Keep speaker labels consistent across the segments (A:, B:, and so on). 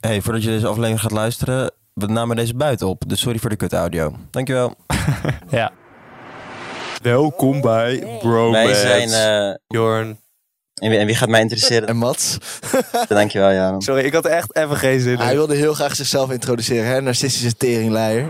A: Hey, voordat je deze aflevering gaat luisteren, we namen deze buiten op. Dus sorry voor de kut audio. Dankjewel.
B: Ja.
C: Welkom bij Bro
D: Wij zijn. eh,
C: Jorn.
D: en, wie, en wie gaat mij interesseren?
E: En Mats,
D: Dankjewel, Jaron.
C: Sorry, ik had echt even geen zin
E: hij
C: in.
E: wilde heel graag zichzelf introduceren, hè? Narcistische teringleier.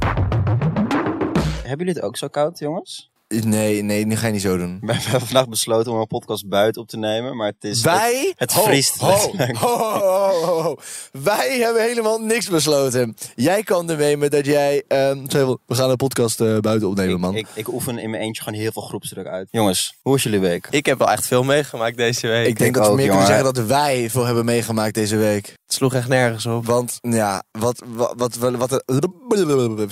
D: Hebben jullie het ook zo koud, jongens?
E: Nee, nee, nu ga je niet zo doen.
D: We hebben vandaag besloten om een podcast buiten op te nemen, maar het is...
E: Wij?
D: het vriest
E: Ho, ho,
D: letterlijk.
E: ho, ho, ho, ho. Wij hebben helemaal niks besloten. Jij kwam ermee met dat jij... ehm, zei wel, we gaan een podcast eh, buiten opnemen, man.
D: Ik, ik oefen in mijn eentje gewoon heel veel groepsdruk uit. Jongens, hoe was jullie week?
C: Ik heb wel echt veel meegemaakt deze week.
E: Ik denk dat we
D: ook,
E: meer kunnen
D: jongen.
E: zeggen dat wij veel hebben meegemaakt deze week.
C: Het sloeg echt nergens op.
E: Want, ja, wat... wat, wat, wat, wat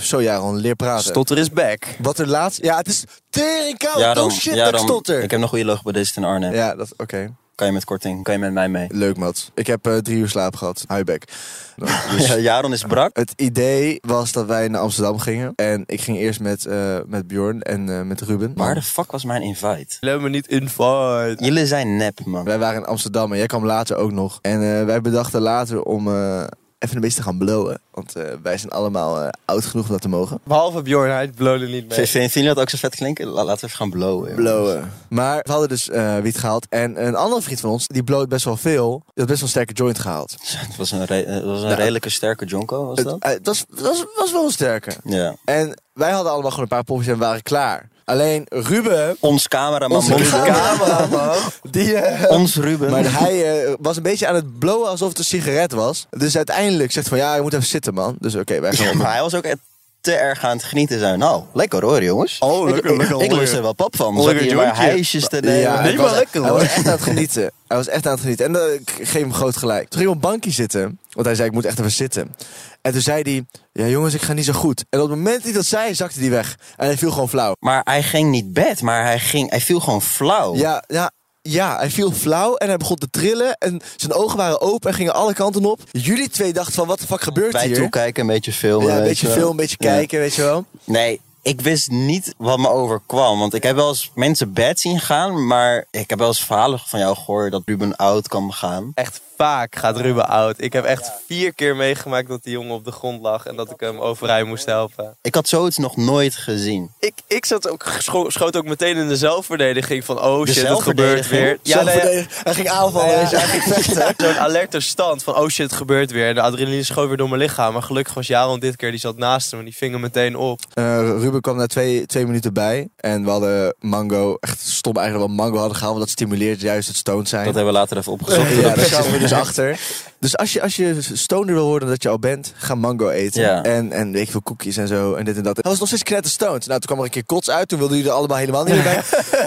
E: zo, Jaron, leer praten.
C: Stotter is back.
E: Wat er laatst... Ja, het is teringkoud.
D: Jaron,
E: oh shit, dat ik
D: Jaron,
E: stotter.
D: ik heb nog goede logopedist in Arnhem.
E: Ja, dat... Oké.
D: Kan je met korting, kan je met mij mee?
E: Leuk, Mats. Ik heb eh, drie uur slaap gehad. Huibek.
D: Ja, Dus Jaron is brak.
E: Het idee was dat wij naar Amsterdam gingen. En ik ging eerst met, eh, met Bjorn en eh, met Ruben.
D: Waar de fuck was mijn invite?
C: Laat me niet invite.
D: Jullie zijn nep, man.
E: Wij waren in Amsterdam en jij kwam later ook nog. En eh, wij bedachten later om eh, even een beetje te gaan blowen. Want eh, wij zijn allemaal eh, oud genoeg om dat te mogen.
C: Behalve Bjorn, hij blode niet mee.
D: Vind- Vinden jullie dat ook zo vet klinken? La- Laten we even gaan blowen. jongens.
E: Blowen. Maar we hadden dus eh, wiet gehaald. En een andere vriend van ons, die bloot best wel veel. Die had best wel een sterke joint gehaald.
D: Het was een, re- eh, het was een redelijke sterke jonko, was
E: Nou, Het
D: dat?
E: eh, het was, was, was wel een sterke.
D: Ja.
E: En wij hadden allemaal gewoon een paar popjes en waren klaar. Alleen Ruben...
D: Ons cameraman.
E: Onze
D: Ons
E: cameraman, die... eh,
D: Ons Ruben.
E: Maar hij eh, was een beetje aan het blowen alsof het een sigaret was. Dus uiteindelijk zegt van ja, je moet even zitten man. Dus oké, wij gaan
D: Ja, maar hij was ook echt te erg aan het genieten zijn. Nou, lekker hoor, jongens.
C: Oh, lekker,
D: ik,
C: lekker,
D: Ik, ik
C: hoor.
D: lust er wel pap van. Zat
C: Lekker
D: hier maar
C: jointje.
D: hijsjes te nemen.
E: Ja,
C: nee,
E: hij
C: maar
E: was-
C: lekker,
E: Hij
C: hoor.
E: was echt aan het genieten. Hij was echt aan het genieten. En eh, ik geef hem groot gelijk. Toen ging hij op een bankje zitten. Want hij zei, ik moet echt even zitten. En toen zei hij, ja jongens, ik ga niet zo goed. En op het moment dat hij dat zei, zakte hij weg. En hij viel gewoon flauw.
D: Maar hij ging niet bed, maar hij, ging, hij viel gewoon flauw.
E: Ja, ja. Ja, hij viel flauw en hij begon te trillen. En zijn ogen waren open en gingen alle kanten op. Jullie twee dachten van, wat de fuck gebeurt
D: Bij
E: hier?
D: toekijken, een beetje filmen.
E: ja, een
D: weet
E: beetje
D: je wel.
E: film, een beetje
D: Ja.
E: kijken, weet je wel.
D: Nee, ik wist niet wat me overkwam. Want ik heb wel eens mensen bed zien gaan. Maar ik heb wel eens verhalen van jou gehoord dat Ruben oud kan gaan.
C: Echt vaak gaat Ruben oud. Ik heb echt vier keer meegemaakt dat die jongen op de grond lag en dat ik hem overeind moest helpen.
D: Ik had zoiets nog nooit gezien.
C: Ik, ik zat ook, scho- schoot ook meteen in de zelfverdediging van oh shit, het gebeurt
D: zelfverdediging?
C: weer.
E: Ja,
C: nou
E: Hij ging aanvallen,
C: Ja.
E: hij zei, hij ging vechten.
C: Zo'n alerte stand van, oh shit, het gebeurt weer. De adrenaline schoot weer door mijn lichaam. Maar gelukkig was Jaron dit keer, die zat naast hem en die ving hem meteen op.
E: Eh, Ruben kwam na twee, twee minuten bij. En we hadden mango, echt stom eigenlijk wel mango hadden gehaald. Want dat stimuleert juist het stoned zijn.
D: Dat hebben we later even opgezocht.
E: ja, daar kwamen we dus achter. Dus als je, als je stoner wil worden dat je al bent, ga mango eten.
D: Ja.
E: En, en weet ik veel koekjes en zo. En dit en dat. Hij was nog steeds knetter stoned. Nou, toen kwam er een keer kots uit. Toen wilden jullie er allemaal helemaal niet meer bij.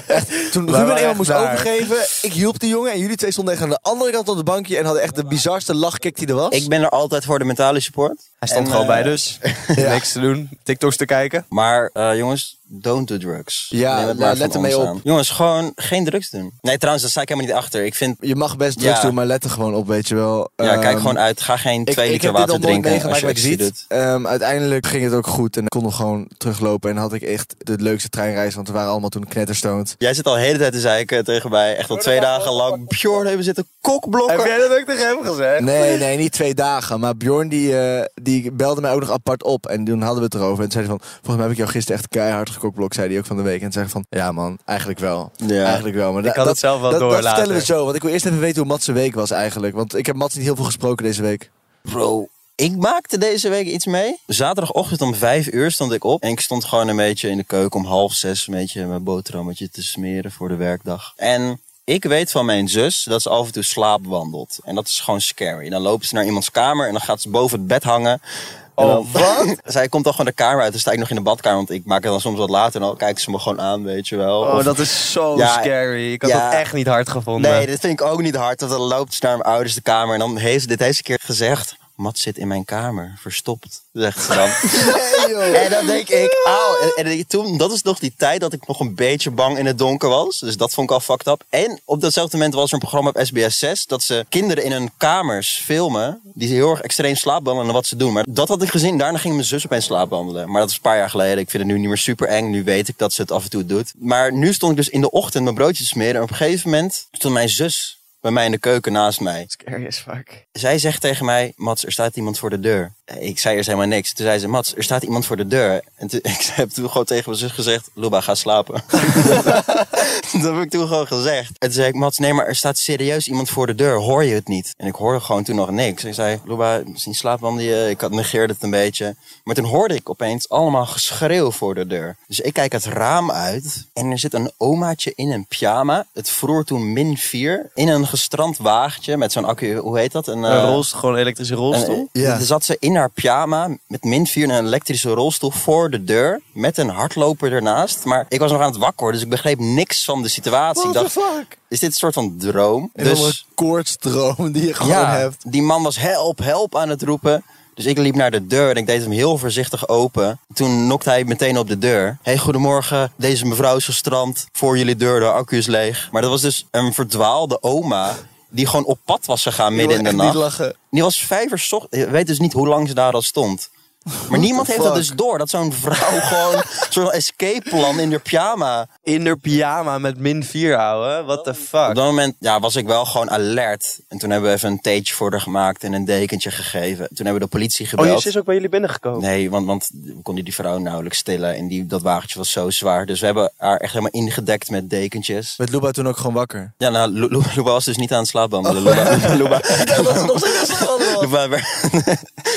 E: Echt, toen
C: waren
E: Ruben eenmaal
C: echt
E: moest
C: daar.
E: overgeven, ik hielp die jongen. En jullie twee stonden echt aan de andere kant op het bankje. En hadden echt de bizarste lachkick die er was.
D: Ik ben er altijd voor de mentale support.
C: Hij stond
D: En,
C: gewoon
D: eh,
C: bij dus. Niks te doen, TikToks te kijken.
D: Maar eh, jongens, don't do drugs.
E: Ja,
D: Neem het
E: ja,
D: maar van
E: let er
D: ons
E: mee op.
D: aan. Jongens, gewoon geen drugs doen. Nee, trouwens, daar sta ik helemaal niet achter. Ik vind,
E: Je mag best drugs
D: Ja.
E: doen, maar let er gewoon op, weet je wel.
D: ja, kijk
E: Ehm,
D: gewoon uit. Ga geen twee liter
E: heb dit
D: water
E: al nooit
D: drinken als
E: meegemaakt,
D: je
E: maar ik zie
D: ecstasy
E: het.
D: doet.
E: Ehm, uiteindelijk ging het ook goed en ik kon nog gewoon teruglopen. En had ik echt de leukste treinreis, want we waren allemaal toen knetterstoned.
D: Jij zit al de hele tijd te zeiken tegen mij. Echt al twee dagen lang. Bjorn, hey, we zitten kokblokken.
C: dat ook tegen hem gezegd?
E: Nee, nee, niet twee dagen. Maar Bjorn die, eh, die belde mij ook nog apart op. En toen hadden we het erover. En toen zei hij van, volgens mij heb ik jou gisteren echt keihard gekokblok, zei hij ook van de week. En toen zei ik van, ja man, eigenlijk wel.
D: Ja.
E: Eigenlijk wel. Maar da-
C: had het zelf wel
E: dat,
C: door
E: Dat
C: later.
E: vertellen we zo, want ik wil eerst even weten hoe Mats' week was eigenlijk. Want ik heb Mats niet heel veel gesproken deze week.
D: Bro, ik maakte deze week iets mee. Zaterdagochtend om vijf uur stond ik op. En ik stond gewoon een beetje in de keuken om half zes... een beetje mijn boterhammetje te smeren voor de werkdag. En ik weet van mijn zus dat ze af en toe slaapwandelt. En dat is gewoon scary. Dan loopt ze naar iemands kamer en dan gaat ze boven het bed hangen... En
C: Oh,
D: dan- Zij komt dan gewoon de kamer uit. Dan sta ik nog in de badkamer. Want ik maak het dan soms wat later. En dan kijken ze me gewoon aan, weet je wel.
C: Oh,
D: Of-
C: dat is zo
D: Ja,
C: scary. Ik had
D: ja.
C: dat echt niet hard gevonden.
D: Nee, dit vind ik ook niet hard. Want dan loopt ze naar mijn ouders de kamer. En dan heeft ze dit deze keer gezegd. Mat zit in mijn kamer, verstopt, zegt ze dan. en dan denk ik, auw. En, en toen, dat is nog die tijd dat ik nog een beetje bang in het donker was. Dus dat vond ik al fucked up. En op datzelfde moment was er een programma op SBS 6... dat ze kinderen in hun kamers filmen... die heel erg extreem slaapwandelen en wat ze doen. Maar dat had ik gezien. Daarna ging mijn zus opeens slaapwandelen. Maar dat is een paar jaar geleden. Ik vind het nu niet meer super eng. Nu weet ik dat ze het af en toe doet. Maar nu stond ik dus in de ochtend mijn broodje te smeren. En op een gegeven moment stond mijn zus bij mij in de keuken naast mij.
C: Scary as fuck.
D: Zij zegt tegen mij, Mats, er staat iemand voor de deur. Ik zei eerst helemaal niks. Toen zei ze, Mats, er staat iemand voor de deur. En toen, ik heb toen gewoon tegen mijn zus gezegd, Luba, ga slapen. dat heb ik toen gewoon gezegd. En toen zei ik, Mats, nee, maar er staat serieus iemand voor de deur. Hoor je het niet? En ik hoorde gewoon toen nog niks. Ik zei, Luba, misschien slaapwandel je. eh, Ik had negeerde het een beetje. Maar toen hoorde ik opeens allemaal geschreeuw voor de deur. Dus ik kijk het raam uit. En er zit een omaatje in een pyjama. Het vroor toen min 4. In een gestrand wagentje met zo'n accu, hoe heet dat? Een,
C: een
D: eh,
C: rolstoel, gewoon een elektrische rolstoel.
D: en,
E: Ja.
D: eh, dan zat ze in haar pyjama met min 4 in een elektrische rolstoel voor de deur. Met een hardloper ernaast. Maar ik was nog aan het wakker, worden, dus ik begreep niks van de situatie. Ik dacht,
E: fuck?
D: is dit een soort van droom?
E: Een
D: dus
E: dus, koortsdroom die je gewoon hebt.
D: die man was help, help aan het roepen. Dus ik liep naar de deur en ik deed hem heel voorzichtig open. Toen nokte hij meteen op de deur. hey, goedemorgen. Deze mevrouw is gestrand. Voor jullie deur, de accu is leeg. Maar dat was dus een verdwaalde oma... die gewoon op pad was gegaan midden in de
E: Echt
D: nacht.
E: Niet lachen.
D: Die was vijf uur 's ocht- Ik weet dus niet hoe lang ze daar al stond. Maar niemand heeft dat
E: fuck?
D: dus door. Dat zo'n vrouw gewoon een soort escape plan in haar pyjama.
C: In haar pyjama met min 4, ouwe. What the fuck?
D: Op eh, dat moment ja, was ik wel gewoon alert. En toen hebben we even een theetje voor haar gemaakt en een dekentje gegeven. Toen hebben we de politie
C: Oh, je
D: gebeld.
C: zus ook bij jullie binnengekomen?
D: Nee, want, want we konden die vrouw nauwelijks stillen. En die, dat wagentje was zo zwaar. Dus we hebben haar echt helemaal ingedekt met dekentjes.
E: Werd Luba toen ook gewoon wakker?
D: Ja, nou, Lu- Lu- Luba was dus niet aan het slaapwandelen.
E: Oh.
D: Luba, Luba, Luba werd-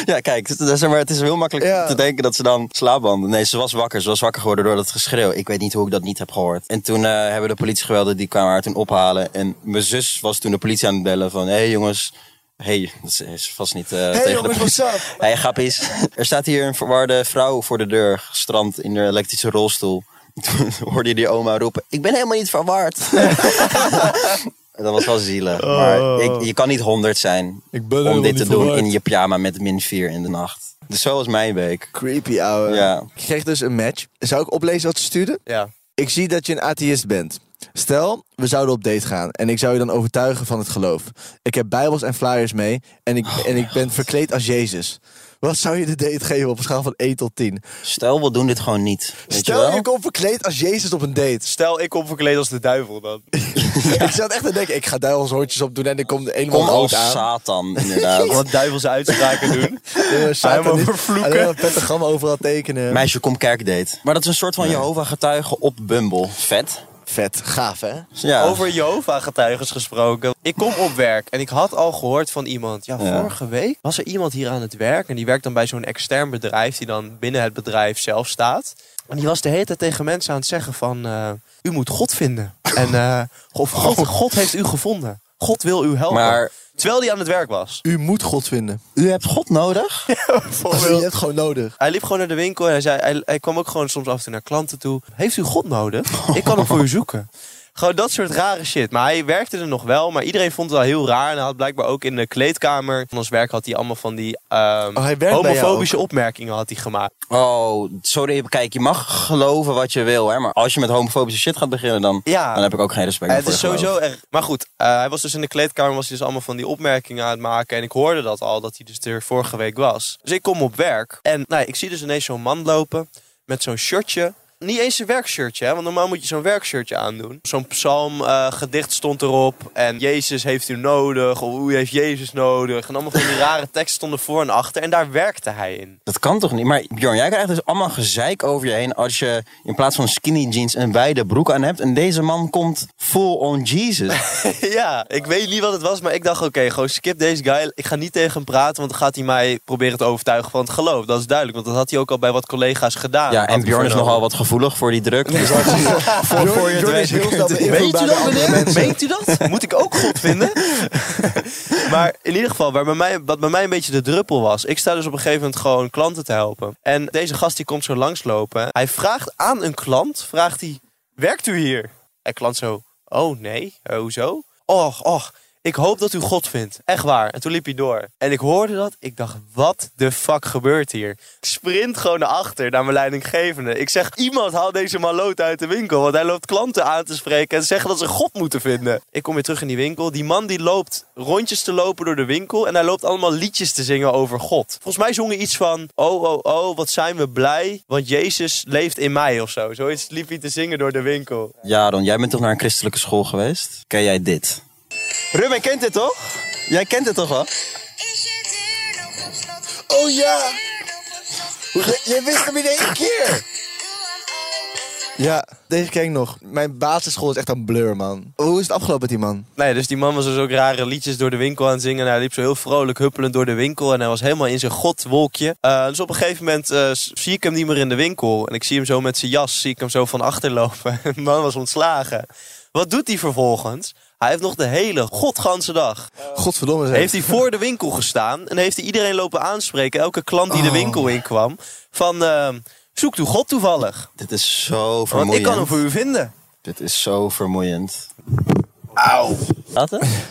D: ja, kijk, het is, maar, het is heel makkelijk
E: Ja.
D: te denken dat ze dan slaapwandelen. Nee, ze was wakker. Ze was wakker geworden door dat geschreeuw. Ik weet niet hoe ik dat niet heb gehoord. En toen eh, hebben de politiegewelden, die kwamen haar toen ophalen. En mijn zus was toen de politie aan het bellen van... Hé hey, jongens, hey, dat is- is vast niet eh, tegen
E: jongens,
D: de politie.
E: what's up?
D: Hé, hey, grappies. Er staat hier een verwarde vrouw voor de deur, gestrand in haar elektrische rolstoel. Toen hoorde je die oma roepen, ik ben helemaal niet verward. Dat was wel zielig. Maar ik, je kan niet honderd zijn
E: Oh. Ik ben
D: om
E: helemaal
D: dit te
E: niet
D: doen
E: verward.
D: in je pyjama met min 4 in de nacht. Dus zo was mijn week.
E: Creepy, ouwe.
D: Ja.
E: Ik kreeg dus een match. Zou ik oplezen wat ze stuurden?
C: Ja.
E: Ik zie dat je een atheïst bent. Stel, we zouden op date gaan en ik zou je dan overtuigen van het geloof. Ik heb bijbels en flyers mee en ik,
D: Oh,
E: en ik ben verkleed als Jezus. Wat zou je de date geven op een schaal van 1 tot 10?
D: Stel, we doen dit gewoon niet. Weet je
E: Stel,
D: wel?
E: je komt verkleed als Jezus op een date.
C: Stel, ik kom verkleed als de duivel dan.
E: Ik zat echt te denken, ik ga duivelshondjes opdoen en ik kom de een of
D: Kom
E: andere
D: als
E: oud aan.
D: Satan, inderdaad.
C: Wat duivelse uitspraken doen.
E: Eh,
C: Hij
E: Satan
C: mag
E: is-
C: vervloeken.
E: Alleen maar een pentagram overal tekenen.
D: Meisje, kom kerkdate. Maar dat is een soort van Jehovah-getuige op Bumble. Vet.
E: Vet, gaaf hè?
D: Ja.
C: Over Jehovah-getuigens gesproken. Ik kom op werk en ik had al gehoord van iemand. Ja,
D: Ja.
C: vorige week was er iemand hier aan het werk. En die werkt dan bij zo'n extern bedrijf die dan binnen het bedrijf zelf staat. En die was de hele tijd tegen mensen aan het zeggen van... eh, u moet God vinden. En eh, of God, God heeft u gevonden. God wil u helpen.
D: Oh. Maar-
C: Terwijl die aan het werk was.
E: U moet God vinden.
D: U hebt God nodig?
E: Je hebt gewoon nodig.
C: Hij liep gewoon naar de winkel en hij, zei, hij, hij kwam ook gewoon soms af en toe naar klanten toe. Heeft u God nodig? Ik kan hem voor u zoeken. Gewoon dat soort rare shit. Maar hij werkte er nog wel, maar iedereen vond het al heel raar. En hij had blijkbaar ook in de kleedkamer van ons werk had hij allemaal van die ehm,
E: Oh, hij werkt bij jou
C: homofobische opmerkingen had hij gemaakt.
D: Oh, sorry. Kijk, je mag geloven wat je wil, hè. Maar als je met homofobische shit gaat beginnen, dan,
C: Ja.
D: dan heb ik ook geen respect meer
C: Eh, het
D: voor
C: is
D: je geloof.
C: sowieso erg. Maar goed, eh, hij was dus in de kleedkamer, was hij dus allemaal van die opmerkingen aan het maken. En ik hoorde dat al, dat hij dus er vorige week was. Dus ik kom op werk en nou, ik zie dus ineens zo'n man lopen met zo'n shirtje. Niet eens een werkshirtje, hè? want normaal moet je zo'n werkshirtje aandoen. Zo'n psalmgedicht gedicht stond erop. En Jezus heeft u nodig, of u heeft Jezus nodig. En allemaal van die rare teksten stonden voor en achter. En daar werkte hij in.
D: Dat kan toch niet? Maar Bjorn, jij krijgt dus allemaal gezeik over je heen als je in plaats van skinny jeans een wijde broek aan hebt. En deze man komt full on Jesus.
C: ja, ik weet niet wat het was, maar ik dacht: oké, gewoon skip deze guy. Ik ga niet tegen hem praten, want dan gaat hij mij proberen te overtuigen van het geloof. Dat is duidelijk, want dat had hij ook al bij wat collega's gedaan.
D: Ja, en Bjorn
C: Had
D: is
C: vernomen.
D: nogal wat gevoelig voor die druk. Dus dat-
E: Voor,
D: voor je het
E: is
D: weet.
E: heel snel beïnvloed
C: Weet
E: bij
C: u
E: de
C: dat,
E: andere
C: meneer?
E: mensen.
C: Weet u dat? Moet ik ook God vinden? maar in ieder geval, waar bij mij, wat bij mij een beetje de druppel was. Ik sta dus op een gegeven moment gewoon klanten te helpen. En deze gast die komt zo langslopen. Hij vraagt aan een klant, vraagt hij, werkt u hier? En klant zo, oh nee, Eh, hoezo? Och, och, ik hoop dat u God vindt. Echt waar. En toen liep hij door. En ik hoorde dat. Ik dacht, wat de fuck gebeurt hier? Ik sprint gewoon naar achter, naar mijn leidinggevende. Ik zeg, iemand haal deze maloot uit de winkel. Want hij loopt klanten aan te spreken en zeggen dat ze God moeten vinden. Ik kom weer terug in die winkel. Die man die loopt rondjes te lopen door de winkel. En hij loopt allemaal liedjes te zingen over God. Volgens mij zongen iets van, oh, oh, oh, wat zijn we blij. Want Jezus leeft in mij of zo. Zoiets liep hij te zingen door de winkel.
D: Jaron, jij bent toch naar een christelijke school geweest? Ken jij dit? Ruben kent dit toch? Jij kent dit toch wel?
B: Is je deur nog op slot?
F: Oh ja,
B: Deur nog op slot.
F: je wist hem in één keer.
B: Doe hem open.
E: Ja, deze ken ik nog. Mijn basisschool is echt een blur, man. Hoe is het afgelopen met die man?
C: Nee, dus die man was dus ook rare liedjes door de winkel aan het zingen. En hij liep zo heel vrolijk huppelend door de winkel. En hij was helemaal in zijn godwolkje. Eh, dus op een gegeven moment eh, s- zie ik hem niet meer in de winkel. En ik zie hem zo met zijn jas, zie ik hem zo van achter lopen. De man was ontslagen. Wat doet hij vervolgens? Hij heeft nog de hele godganse dag.
E: Godverdomme zeg.
C: Heeft hij voor de winkel gestaan. En heeft hij iedereen lopen aanspreken. Elke klant die de winkel inkwam. Van, eh, zoekt u God toevallig.
D: Dit is zo
C: Want ik
D: vermoeiend.
C: kan hem voor u vinden.
D: Dit is zo vermoeiend.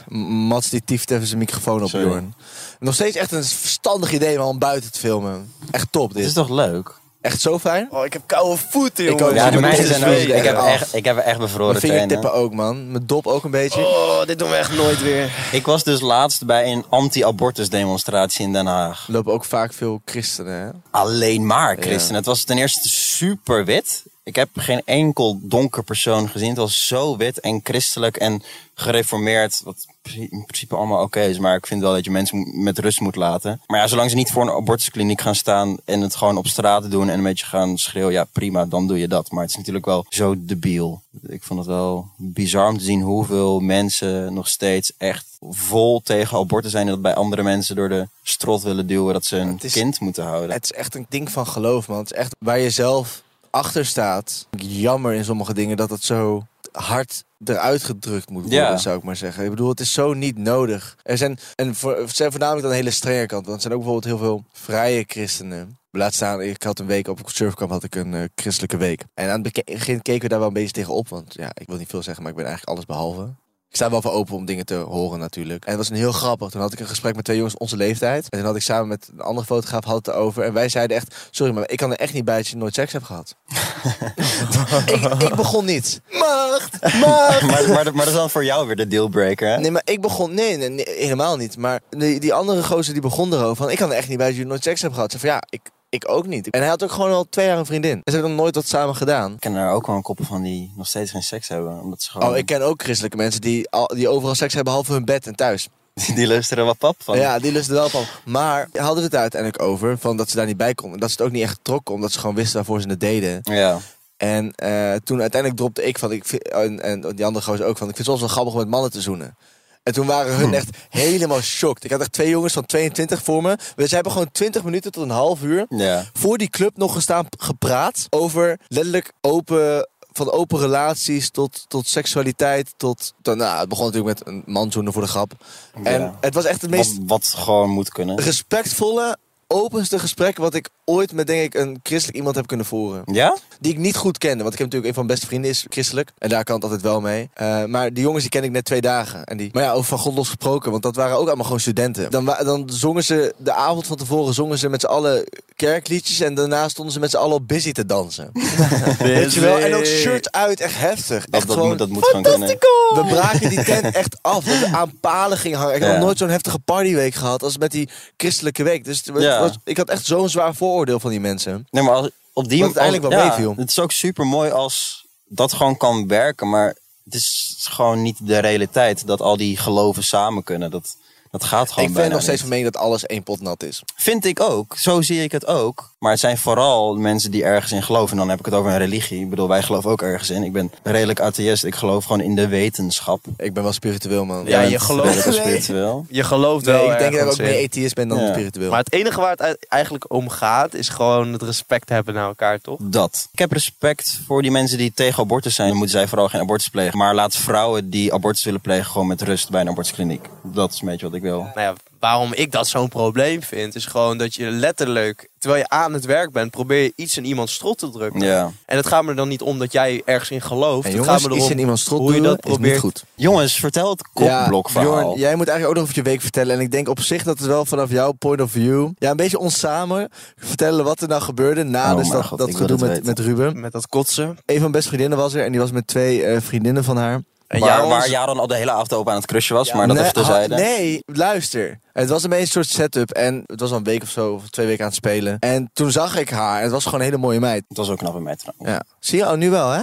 E: M- Mats die tieft even zijn microfoon op,
D: Sorry.
E: Jorn. Nog steeds echt een verstandig idee, man, om buiten te filmen. Echt top,
D: Dit is
E: dit.
D: toch leuk?
E: Echt zo fijn.
C: Oh, ik heb koude voeten,
E: Ik ook.
C: jongens.
E: Ja,
D: Ja,
E: de
D: bij mij
E: moeder
D: zijn
E: is
D: ook,
E: weer
D: ik, heb
E: eraf.
D: echt, ik heb echt bevroren
E: Mijn
D: tenen.
E: vingertippen ook, man. Mijn dop ook een beetje.
C: Oh, dit doen we echt nooit weer.
D: Ik was dus laatst bij een anti-abortus demonstratie in Den Haag.
E: Er lopen ook vaak veel christenen, hè?
D: Alleen maar christen. Het was ten eerste super wit. Ik heb geen enkel donker persoon gezien. Het was zo wit en christelijk en gereformeerd. Wat in principe allemaal oké is. Maar ik vind wel dat je mensen met rust moet laten. Maar ja, zolang ze niet voor een abortuskliniek gaan staan en het gewoon op straat doen en een beetje gaan schreeuwen. Ja, prima, dan doe je dat. Maar het is natuurlijk wel zo debiel. Ik vond het wel bizar om te zien hoeveel mensen nog steeds echt vol tegen abortus zijn. En dat bij andere mensen door de strot willen duwen dat ze een
E: Het is-
D: kind moeten houden.
E: Het is echt een ding van geloof, man. Het is echt waar je zelf achter staat. Jammer in sommige dingen dat het zo hard eruit gedrukt moet worden,
D: Ja.
E: zou ik maar zeggen. Ik bedoel, het is zo niet nodig. Er zijn, en voor, het zijn voornamelijk aan de hele strenge kant, want er zijn ook bijvoorbeeld heel veel vrije christenen. Laat staan, ik had een week op een surfkamp, had ik een eh, christelijke week. En aan het begin keken we daar wel een beetje tegen op, want ja, ik wil niet veel zeggen, maar ik ben eigenlijk alles behalve. Ik sta wel voor open om dingen te horen natuurlijk. En het was een heel grappig. Toen had ik een gesprek met twee jongens onze leeftijd. En toen had ik samen met een andere fotograaf had het erover. En wij zeiden echt, sorry, maar ik kan er echt niet bij dat je nooit seks hebt gehad. ik, ik begon niet. Macht, macht.
D: maar, maar, maar dat is dan voor jou weer de dealbreaker, hè?
E: Nee, maar ik begon... Nee, nee, nee, helemaal niet. Maar die, die andere gozer die begon erover. Van, ik kan er echt niet bij dat je nooit seks hebt gehad. Ze van, ja, ik, ik ook niet. En hij had ook gewoon al twee jaar een vriendin. En ze hebben nog nooit wat samen gedaan.
D: Ik ken er ook wel een koppel van die nog steeds geen seks hebben. Omdat ze gewoon...
E: Oh, ik ken ook christelijke mensen die, al- die overal seks hebben, behalve hun bed en thuis.
D: Die luisteren wat pap van.
E: Ja, die lusten wel van. Maar hadden we het uiteindelijk over van dat ze daar niet bij konden. Dat ze het ook niet echt trokken, omdat ze gewoon wisten waarvoor ze het deden.
D: Ja.
E: En eh, toen uiteindelijk dropte ik van, ik vind- en, en die andere gozer ook van, ik vind het soms wel grappig om met mannen te zoenen. En toen waren hun echt helemaal shocked. Ik had echt twee jongens van 22 voor me. We ze hebben gewoon 20 minuten tot een half uur
D: Ja.
E: voor die club nog gestaan gepraat over letterlijk open van open relaties tot, tot seksualiteit tot, tot- nou het begon natuurlijk met een man zoenen voor de grap en het was echt het meest
D: Wat, wat gewoon moet kunnen.
E: respectvolle, openste gesprek wat ik ooit met denk ik een christelijk iemand heb kunnen voeren.
D: Ja?
E: Die ik niet goed kende, want ik heb natuurlijk een van mijn beste vrienden is christelijk. En daar kan het altijd wel mee. Eh, maar die jongens die ken ik net twee dagen. En die, maar ja, over van God los gesproken, want dat waren ook allemaal gewoon studenten. Dan, wa- dan zongen ze, de avond van tevoren zongen ze met z'n allen kerkliedjes. En daarna stonden ze met z'n allen op busy te dansen. Weet je wel? En ook shirt uit, echt heftig.
D: Dat,
E: echt
D: dat,
E: gewoon,
D: moet, dat moet gewoon kunnen.
E: we braken die tent echt af. Dat we aan palen gingen hangen. Ik heb
D: Ja.
E: nog nooit zo'n heftige partyweek gehad als met die christelijke week. Dus het
D: Ja.
E: was- ik had echt zo'n zwaar vooroordeel van die mensen.
D: Nee, maar als, op die
E: Wat uiteindelijk wel
D: als-
E: meeviel.
D: Het is ook super mooi als dat gewoon kan werken. Maar het is gewoon niet de realiteit dat al die geloven samen kunnen. Dat, dat gaat gewoon
E: ik ben
D: bijna
E: nog steeds
D: niet.
E: van mening dat alles één pot nat is.
D: Vind ik ook. Zo zie ik het ook. Maar het zijn vooral mensen die ergens in geloven. En dan heb ik het over een religie. Ik bedoel, wij geloven ook ergens in. Ik ben redelijk atheïst. Ik geloof gewoon in de wetenschap.
E: Ik ben wel spiritueel, man.
C: Ja,
D: Jij
C: je
D: bent
C: gelooft-
D: redelijk
E: Nee.
D: spiritueel.
C: Je gelooft
E: Nee,
C: wel
E: ik denk dat ik
C: ergens
E: ook meer
C: in.
E: atheïst ben dan
D: Ja.
E: spiritueel.
C: Maar het enige waar het uit- eigenlijk om gaat, is gewoon het respect hebben naar elkaar, toch?
D: Dat. Ik heb respect voor die mensen die tegen abortus zijn. Dan moeten zij vooral geen abortus plegen. Maar laat vrouwen die abortus willen plegen gewoon met rust bij een abortuskliniek. Dat is een beetje wat ik wil.
C: Nou ja, waarom ik dat zo'n probleem vind, is gewoon dat je letterlijk, terwijl je aan het werk bent, probeer je iets in iemands strot te drukken.
D: Ja.
C: En het gaat me er dan niet om dat jij ergens in gelooft.
E: en
C: het
E: jongens,
C: gaat me
E: iets
C: erom
E: in iemands strot
C: hoe je
E: duwen
C: dat
E: is
C: probeert.
E: niet goed.
D: Jongens, vertel het
E: Ja,
D: kopblokverhaal.
E: Bjorn, jij moet eigenlijk ook nog over je week vertellen. En ik denk op zich dat het wel vanaf jouw point of view... Ja, een beetje ons samen vertellen wat er nou gebeurde... na
D: Oh
E: dus
D: mijn
E: dat,
D: God,
E: dat
D: ik wil
E: gedoe
D: het
E: met,
D: weten.
E: met Ruben.
C: Met dat kotsen.
E: Een van mijn beste vriendinnen was er en die was met twee eh, vriendinnen van haar.
C: En
D: waar,
C: Jaron-
D: waar Jaron al de hele avond open aan het crushen was, maar dat
E: nee,
D: even terzijde.
E: ha- nee, luister. Het was een beetje een soort setup en het was al een week of zo, of twee weken aan het spelen. En toen zag ik haar en het was gewoon een hele mooie meid.
D: Het was ook knap in mij trouwens.
E: Ja. Zie je, oh, nu wel hè?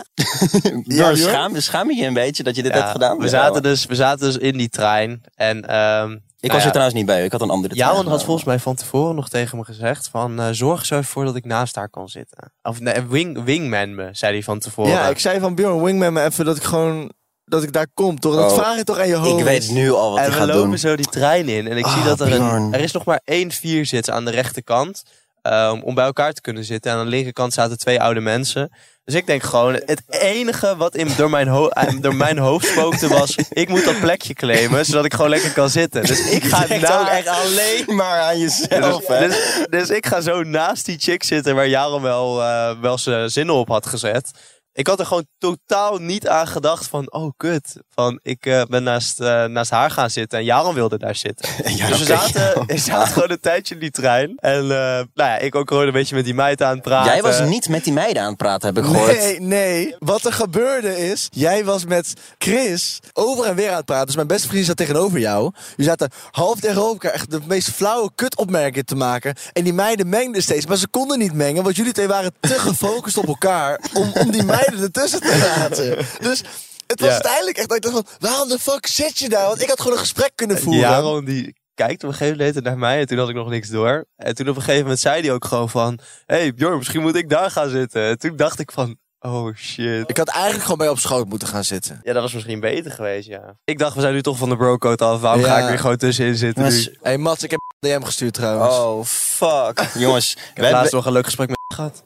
D: Ja,
E: joh.
D: schaam, schaam je je een beetje dat je dit hebt gedaan?
C: We zaten,
D: Ja,
C: dus, we zaten dus in die trein. En, ehm,
D: ik
C: nou
D: was
C: ja,
D: er trouwens niet bij, ik had een andere trein
C: Jaron had
D: genomen.
C: volgens mij van tevoren nog tegen me gezegd van... eh, zorg zo voor dat ik naast haar kan zitten. Of nee, wing, wingman me, zei hij van tevoren.
E: Ja, ik zei van Bjorn, wingman me even dat ik gewoon, dat ik daar kom toch? Dat
D: Oh.
E: vraag je toch aan je hoofd?
D: Ik weet nu al wat
C: en
D: hij
C: we
D: gaat
C: lopen
D: doen.
C: zo die trein in. En ik zie
D: Ah,
C: dat er een,
D: Bjorn.
C: er is nog maar één vierzits aan de rechterkant. ehm, om bij elkaar te kunnen zitten. En aan de linkerkant zaten twee oude mensen. Dus ik denk gewoon, het enige wat in, door, mijn ho- eh, door mijn hoofd spookte was... ik moet dat plekje claimen, zodat ik gewoon lekker kan zitten. Dus ik ga
D: Echt
C: naar...
D: ook echt alleen maar aan jezelf, hè?
C: Dus, dus ik ga zo naast die chick zitten waar Jaron wel, eh, wel zijn zinnen op had gezet. Ik had er gewoon totaal niet aan gedacht van, oh kut. Van, ik eh, ben naast, eh, naast haar gaan zitten en Jaron wilde daar zitten.
D: Ja,
C: dus we
D: oké.
C: zaten, we zaten gewoon een tijdje in die trein. En eh, nou ja, ik ook gewoon een beetje met die meid aan het praten.
D: Jij was niet met die meiden aan het praten, heb ik gehoord.
E: Nee, nee. Wat er gebeurde is, jij was met Chris over en weer aan het praten. Dus mijn beste vriend zat tegenover jou. Je zaten half tegen elkaar echt de meest flauwe kutopmerkingen te maken. En die meiden mengden steeds, maar ze konden niet mengen. Want jullie twee waren te gefocust op elkaar om, om die meiden ertussen te laten. Dus... Het was
C: Ja.
E: uiteindelijk echt dat ik dacht van, waarom de fuck zit je daar? Want ik had gewoon een gesprek kunnen voeren.
C: Jaron die kijkt op een gegeven moment naar mij en toen had ik nog niks door. En toen op een gegeven moment zei hij ook gewoon van, hey Bjorn, misschien moet ik daar gaan zitten. En toen dacht ik van, oh shit.
E: Ik had eigenlijk gewoon bij op schoot moeten gaan zitten.
C: Ja, dat was misschien beter geweest, ja. Ik dacht, we zijn nu toch van de brocode af. Waarom
E: Ja.
C: ga ik weer gewoon tussenin zitten
D: Maar
C: nu?
D: s-
E: Hé hey, Mats, ik heb een DM gestuurd trouwens.
D: Oh, fuck. Jongens,
C: Ik
D: wij-
C: heb laatst nog een leuk gesprek met gehad.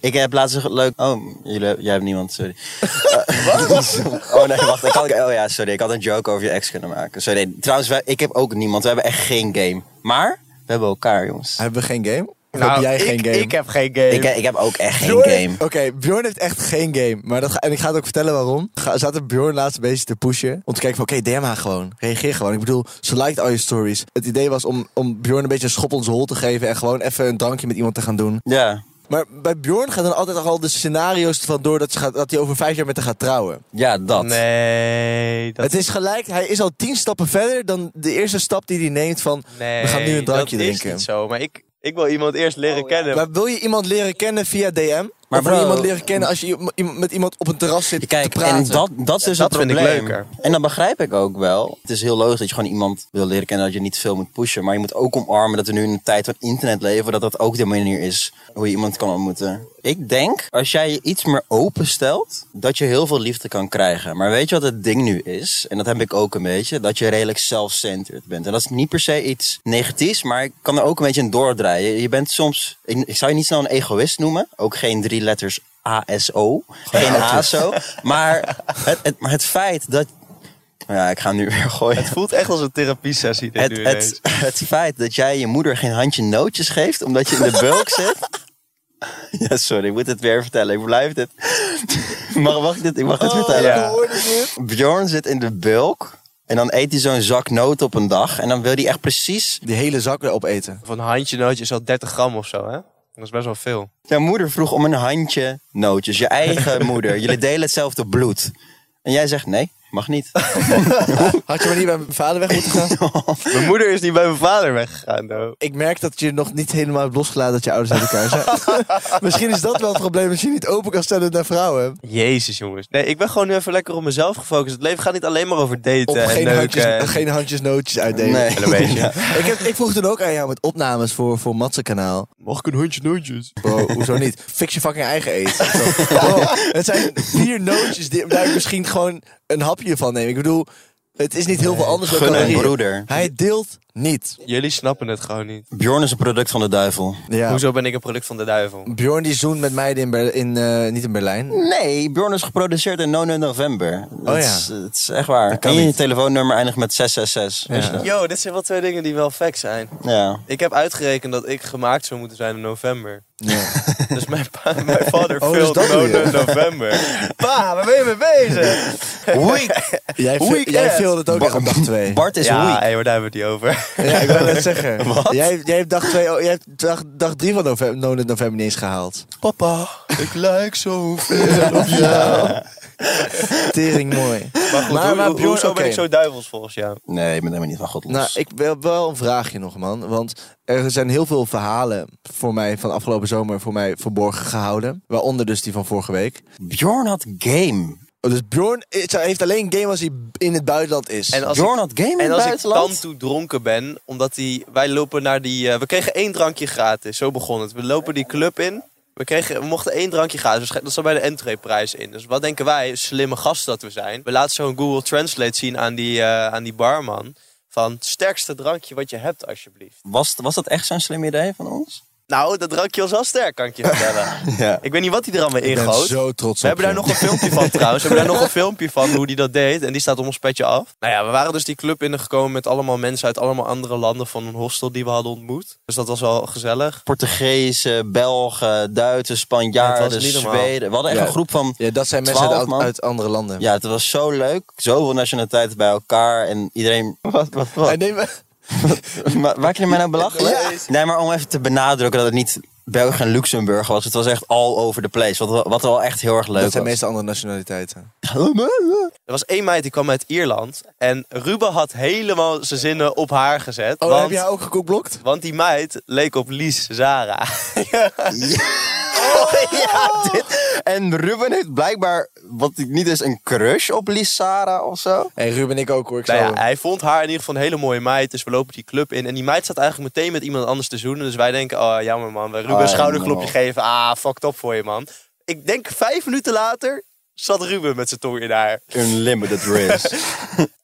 D: Ik heb laatst een ge- leuk. Oh, jullie, heb- jij hebt niemand, sorry. Eh, oh nee, wacht. Ik kan, oh ja, sorry. Ik had een joke over je ex kunnen maken. Sorry. nee, Trouwens, wij, ik heb ook niemand. We hebben echt geen game. Maar we hebben elkaar, jongens.
E: Hebben we geen game? Of Nou, heb jij
C: Nou, ik,
E: geen game?
C: Ik heb geen game.
D: Ik, he- ik heb ook echt geen
E: Bjorn-
D: game.
E: Oké, Bjorn heeft echt geen game. Maar dat ga- en ik ga het ook vertellen waarom. Ga, zaten Bjorn laatst een beetje te pushen. Om te kijken van, oké, DM haar gewoon. Reageer gewoon. Ik bedoel, ze liked al je stories. Het idee was om, om Bjorn een beetje een schop onze hol te geven. En gewoon even een drankje met iemand te gaan doen.
D: Ja.
E: Maar bij Bjorn gaan dan altijd al de scenario's van door dat, ze gaat, dat hij over vijf jaar met haar gaat trouwen.
D: Ja, dat.
C: Nee, dat,
E: Het is gelijk, hij is al tien stappen verder dan de eerste stap die hij neemt van...
C: nee,
E: we gaan nu een drankje
C: dat
E: drinken.
C: is niet zo. Maar ik, ik wil iemand eerst leren kennen.
E: Maar wil je iemand leren kennen via DM? Maar
D: Maar
E: of wil je
D: bro-
E: iemand leren kennen als je i- i- met iemand op een terras zit
D: Kijk,
E: te praten?
D: en dat, dat is dus
C: dat
D: het
C: vind ik
D: probleem.
C: leuker.
D: En dat begrijp ik ook wel. Het is heel logisch dat je gewoon iemand wil leren kennen dat je niet veel moet pushen. Maar je moet ook omarmen dat we nu in een tijd van internet leven. Dat dat ook de manier is hoe je iemand kan ontmoeten. Ik denk, als jij je iets meer openstelt, dat je heel veel liefde kan krijgen. Maar weet je wat het ding nu is? En dat heb ik ook een beetje. Dat je redelijk self-centered bent. En dat is niet per se iets negatiefs, maar ik kan er ook een beetje in doordraaien. Je- Je bent soms, ik, ik zou je niet snel een egoïst noemen. Ook geen drie letters ASO. Geen ASO. Maar het, het, maar het feit dat. Ja, ik ga hem nu weer gooien.
C: Het voelt echt als een therapie sessie dit
D: Het,
C: nu
D: het,
C: ineens.
D: het feit dat jij je moeder geen handje nootjes geeft omdat je in de bulk zit. Ja, sorry, ik moet het weer vertellen. Ik blijf dit. Mag, mag ik dit? Ik mag dit vertellen.
C: Oh, ja.
D: Bjorn zit in de bulk. En dan eet hij zo'n zak noot op een dag. En dan wil hij echt precies.
E: Die hele zak weer opeten.
C: Van handje nootje is al 30 gram of zo, hè? Dat is best wel veel.
D: Jouw moeder vroeg om een handje nootjes. Je eigen moeder. Jullie delen hetzelfde bloed. En jij zegt nee, mag niet.
E: Had je maar niet bij mijn vader weg moeten gaan?
C: Mijn moeder is niet bij mijn vader weggegaan, though.
E: Ik merk dat je nog niet helemaal hebt losgelaten dat je ouders uit elkaar zijn. Misschien is dat wel het probleem dat je niet open kan stellen naar vrouwen.
C: Jezus, jongens. Nee, ik ben gewoon nu even lekker op mezelf gefocust. Het leven gaat niet alleen maar over daten
E: Op
C: en
E: geen
C: neuken
E: handjes,
C: en-
E: geen handjes nootjes uitdelen.
D: Nee.
C: en een beetje.
E: Ik, heb, ik vroeg toen ook aan jou met opnames voor, voor Matse kanaal.
C: Mag ik een handje nootjes?
E: Bro, hoezo niet? Fix je fucking eigen eten. Zo. Bro, het zijn vier nootjes die, daar misschien gewoon een hapje van neem. Ik bedoel, het is niet heel veel anders dan
D: Gun een
E: calorieën.
D: broeder.
E: Hij deelt niet.
C: Jullie snappen het gewoon niet.
D: Bjorn is een product van de duivel.
E: Ja.
C: Hoezo ben ik een product van de duivel?
E: Bjorn die zoent met meiden in, Ber- in eh, niet in Berlijn.
D: Nee, Bjorn is geproduceerd in No No November. Dat
E: ja.
D: is, het is echt waar. En je telefoonnummer eindigt met 666. Weet je dat?
C: Yo, dit zijn wel twee dingen die wel facts zijn.
D: Dus, eh, Ja.
C: Ik heb uitgerekend dat ik gemaakt zou moeten zijn in november.
E: Ja.
C: Dus mijn, pa, mijn vader
E: Oh, dus
C: vult
E: dat doe
C: nood
E: je.
C: in november. Pa, waar ben je mee bezig?
D: Week.
E: Jij, viel,
D: Weekend.
E: jij viel het ook echt op dag twee.
D: Bart is
C: ja,
D: weak.
C: hé, maar daar hebben we het niet over.
E: Ja, ik wil het zeggen. Jij, jij hebt dag, twee, oh, jij hebt dag, dag drie van november, november niet eens gehaald.
C: Papa. Ik lijk zo
E: Tering mooi.
C: Maar goed,
E: Maar-
C: hoe,
E: maar
C: hoe-
E: Bjorn,
C: hoezo ben ik
E: oké.
C: zo duivels volgens jou?
D: Nee, ik ben helemaal niet van God los.
C: Dus-
E: Nou, ik wil wel een vraagje nog, man. Want er zijn heel veel verhalen voor mij van afgelopen zomer voor mij verborgen gehouden. Waaronder dus die van vorige week.
D: Bjorn had game.
E: Oh, Dus Bjorn is- heeft alleen game als hij in het buitenland is.
C: En als ik-
D: Bjorn had game in
C: En
D: het
C: als ik
D: buitenland?
C: dan toe dronken ben, omdat die, wij lopen naar die... eh, we kregen één drankje gratis, zo begon het. We lopen die club in, we, kregen, we mochten één drankje gratis. Dus Dat zat bij de entreeprijs in. Dus wat denken wij, slimme gasten dat we zijn. We laten zo'n Google Translate zien aan die, eh, aan die barman. Van het sterkste drankje wat je hebt, alsjeblieft.
D: Was, was dat echt zo'n slim idee van ons?
C: Nou, dat drankje was wel sterk, kan ik je vertellen.
D: Ja.
C: Ik weet niet wat hij er allemaal
E: ik ben
C: ingoot.
E: zo trots
C: We
E: op
C: hebben daar nog
E: je.
C: een filmpje van trouwens. We hebben daar nog een filmpje van hoe die dat deed. En die staat om ons petje af. Nou ja, we waren dus die club binnengekomen met allemaal mensen uit allemaal andere landen van een hostel die we hadden ontmoet. Dus dat was wel gezellig.
D: Portugezen, Belgen, Duitsers,
C: Ja, het
D: Spanjaarden,
C: was niet normaal.
D: Zweden. We hadden echt
E: Ja.
D: een groep van...
E: Ja, dat zijn mensen
D: Twaalf,
E: uit,
D: man.
E: uit andere landen.
D: Ja, het was zo leuk. Zoveel nationaliteiten bij elkaar. En iedereen... Wat, wat, wat?
E: Hij neemt-
D: Ma- Maak je er mij nou belachelijk? Nee, maar om even te benadrukken dat het niet België en Luxemburg was. Het was echt all over the place. Wat, wat wel echt heel erg leuk
E: dat zijn
D: was.
E: meestal andere nationaliteiten.
C: Er was één meid die kwam uit Ierland. En Ruben had helemaal zijn zinnen op haar gezet.
E: Oh, heb
C: want,
E: jij ook gekokblokt?
C: want die meid leek op Lies Zara.
D: Oh, ja, dit. En Ruben heeft blijkbaar, wat ik niet is, een crush op Lissara of zo.
E: En Ruben en ik ook hoor. Ik
C: Nou
E: zou
C: ja, hij vond haar in ieder geval een hele mooie meid. Dus we lopen die club in. En die meid staat eigenlijk meteen met iemand anders te zoenen. Dus wij denken, oh jammer man. We Ruben een
D: Ah,
C: schouderklopje
D: man.
C: geven. Ah, fucked up voor je man. Ik denk vijf minuten later zat Ruben met zijn tong in haar.
D: Unlimited risk.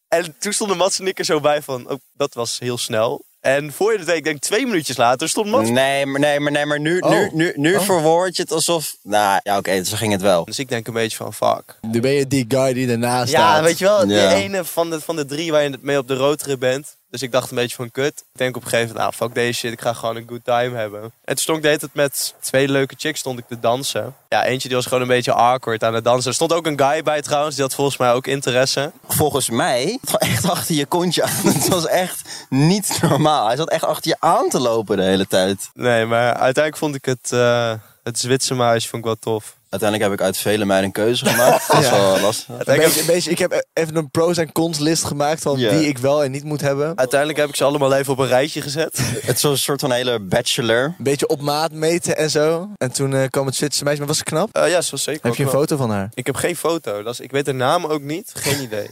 C: En toen stonden Mats en ik er zo bij van, oh, dat was heel snel. En voor je het weet, ik denk twee minuutjes later stond Mats.
D: nee, maar, nee, maar, nee, maar nu,
E: Oh.
D: nu, nu, nu verwoord je het alsof... Nou, ja, oké, zo ging het wel.
C: Dus ik denk een beetje van, fuck.
E: Nu ben je die guy die ernaast staat.
C: Ja, weet je
D: Ja.
C: wel, die ene van de, van de drie waar je mee op de roadtrip bent. Dus ik dacht een beetje van kut. Ik denk op een gegeven moment, nou fuck deze shit, ik ga gewoon een good time hebben. En toen stond ik deed het met twee leuke chicks stond ik te dansen. Ja, eentje die was gewoon een beetje awkward aan het dansen. Er stond ook een guy bij trouwens, die had volgens mij ook interesse.
D: Volgens mij, echt achter je kontje aan. Het was echt niet normaal. Hij zat echt achter je aan te lopen de hele tijd.
C: Nee, maar uiteindelijk vond ik het, eh het Zwitser meisje vond ik wel tof.
D: Uiteindelijk heb ik uit vele meiden een keuze gemaakt. Dat is wel lastig.
E: Een
C: Uiteindelijk
E: beetje,
C: heb,
E: een beetje- ik heb e- even een pros en cons list gemaakt van
D: Ja.
E: wie ik wel en niet moet hebben. Een
C: uiteindelijk heb ik ze allemaal even op een rijtje gezet.
D: Het is zo'n soort van hele bachelor.
E: beetje op maat meten en zo. En toen eh, kwam het Zwitserse meisje. Maar was ze knap?
C: Eh, ja, ze was zeker
E: heb
C: ook
E: je een
C: wel-
E: foto van haar?
C: Ik heb geen foto, dat is, ik weet haar naam ook niet, geen idee.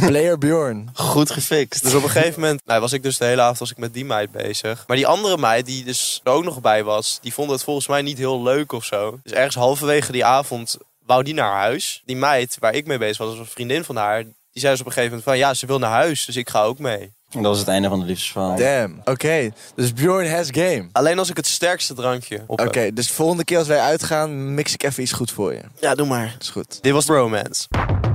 E: Player Bjorn.
D: Goed gefixt.
C: Dus op een gegeven moment nou, was ik dus de hele avond was ik met die meid bezig. Maar die andere meid, die dus er ook nog bij was, die vond het volgens mij niet heel leuk of zo. Dus ergens halverwege die avond wou die naar huis. Die meid waar ik mee bezig was, was een vriendin van haar. Die zei dus op een gegeven moment van, ja, ze wil naar huis, dus ik ga ook mee.
D: Dat was het einde van de liefdesverhaal.
E: Damn. Oké, dus Bjorn has game.
C: Alleen als ik het sterkste drankje op
E: Oké,
C: heb.
E: dus volgende keer als wij uitgaan, mix ik even iets goed voor je.
C: Ja, doe maar.
E: Dat is goed.
C: Dit was Bromance.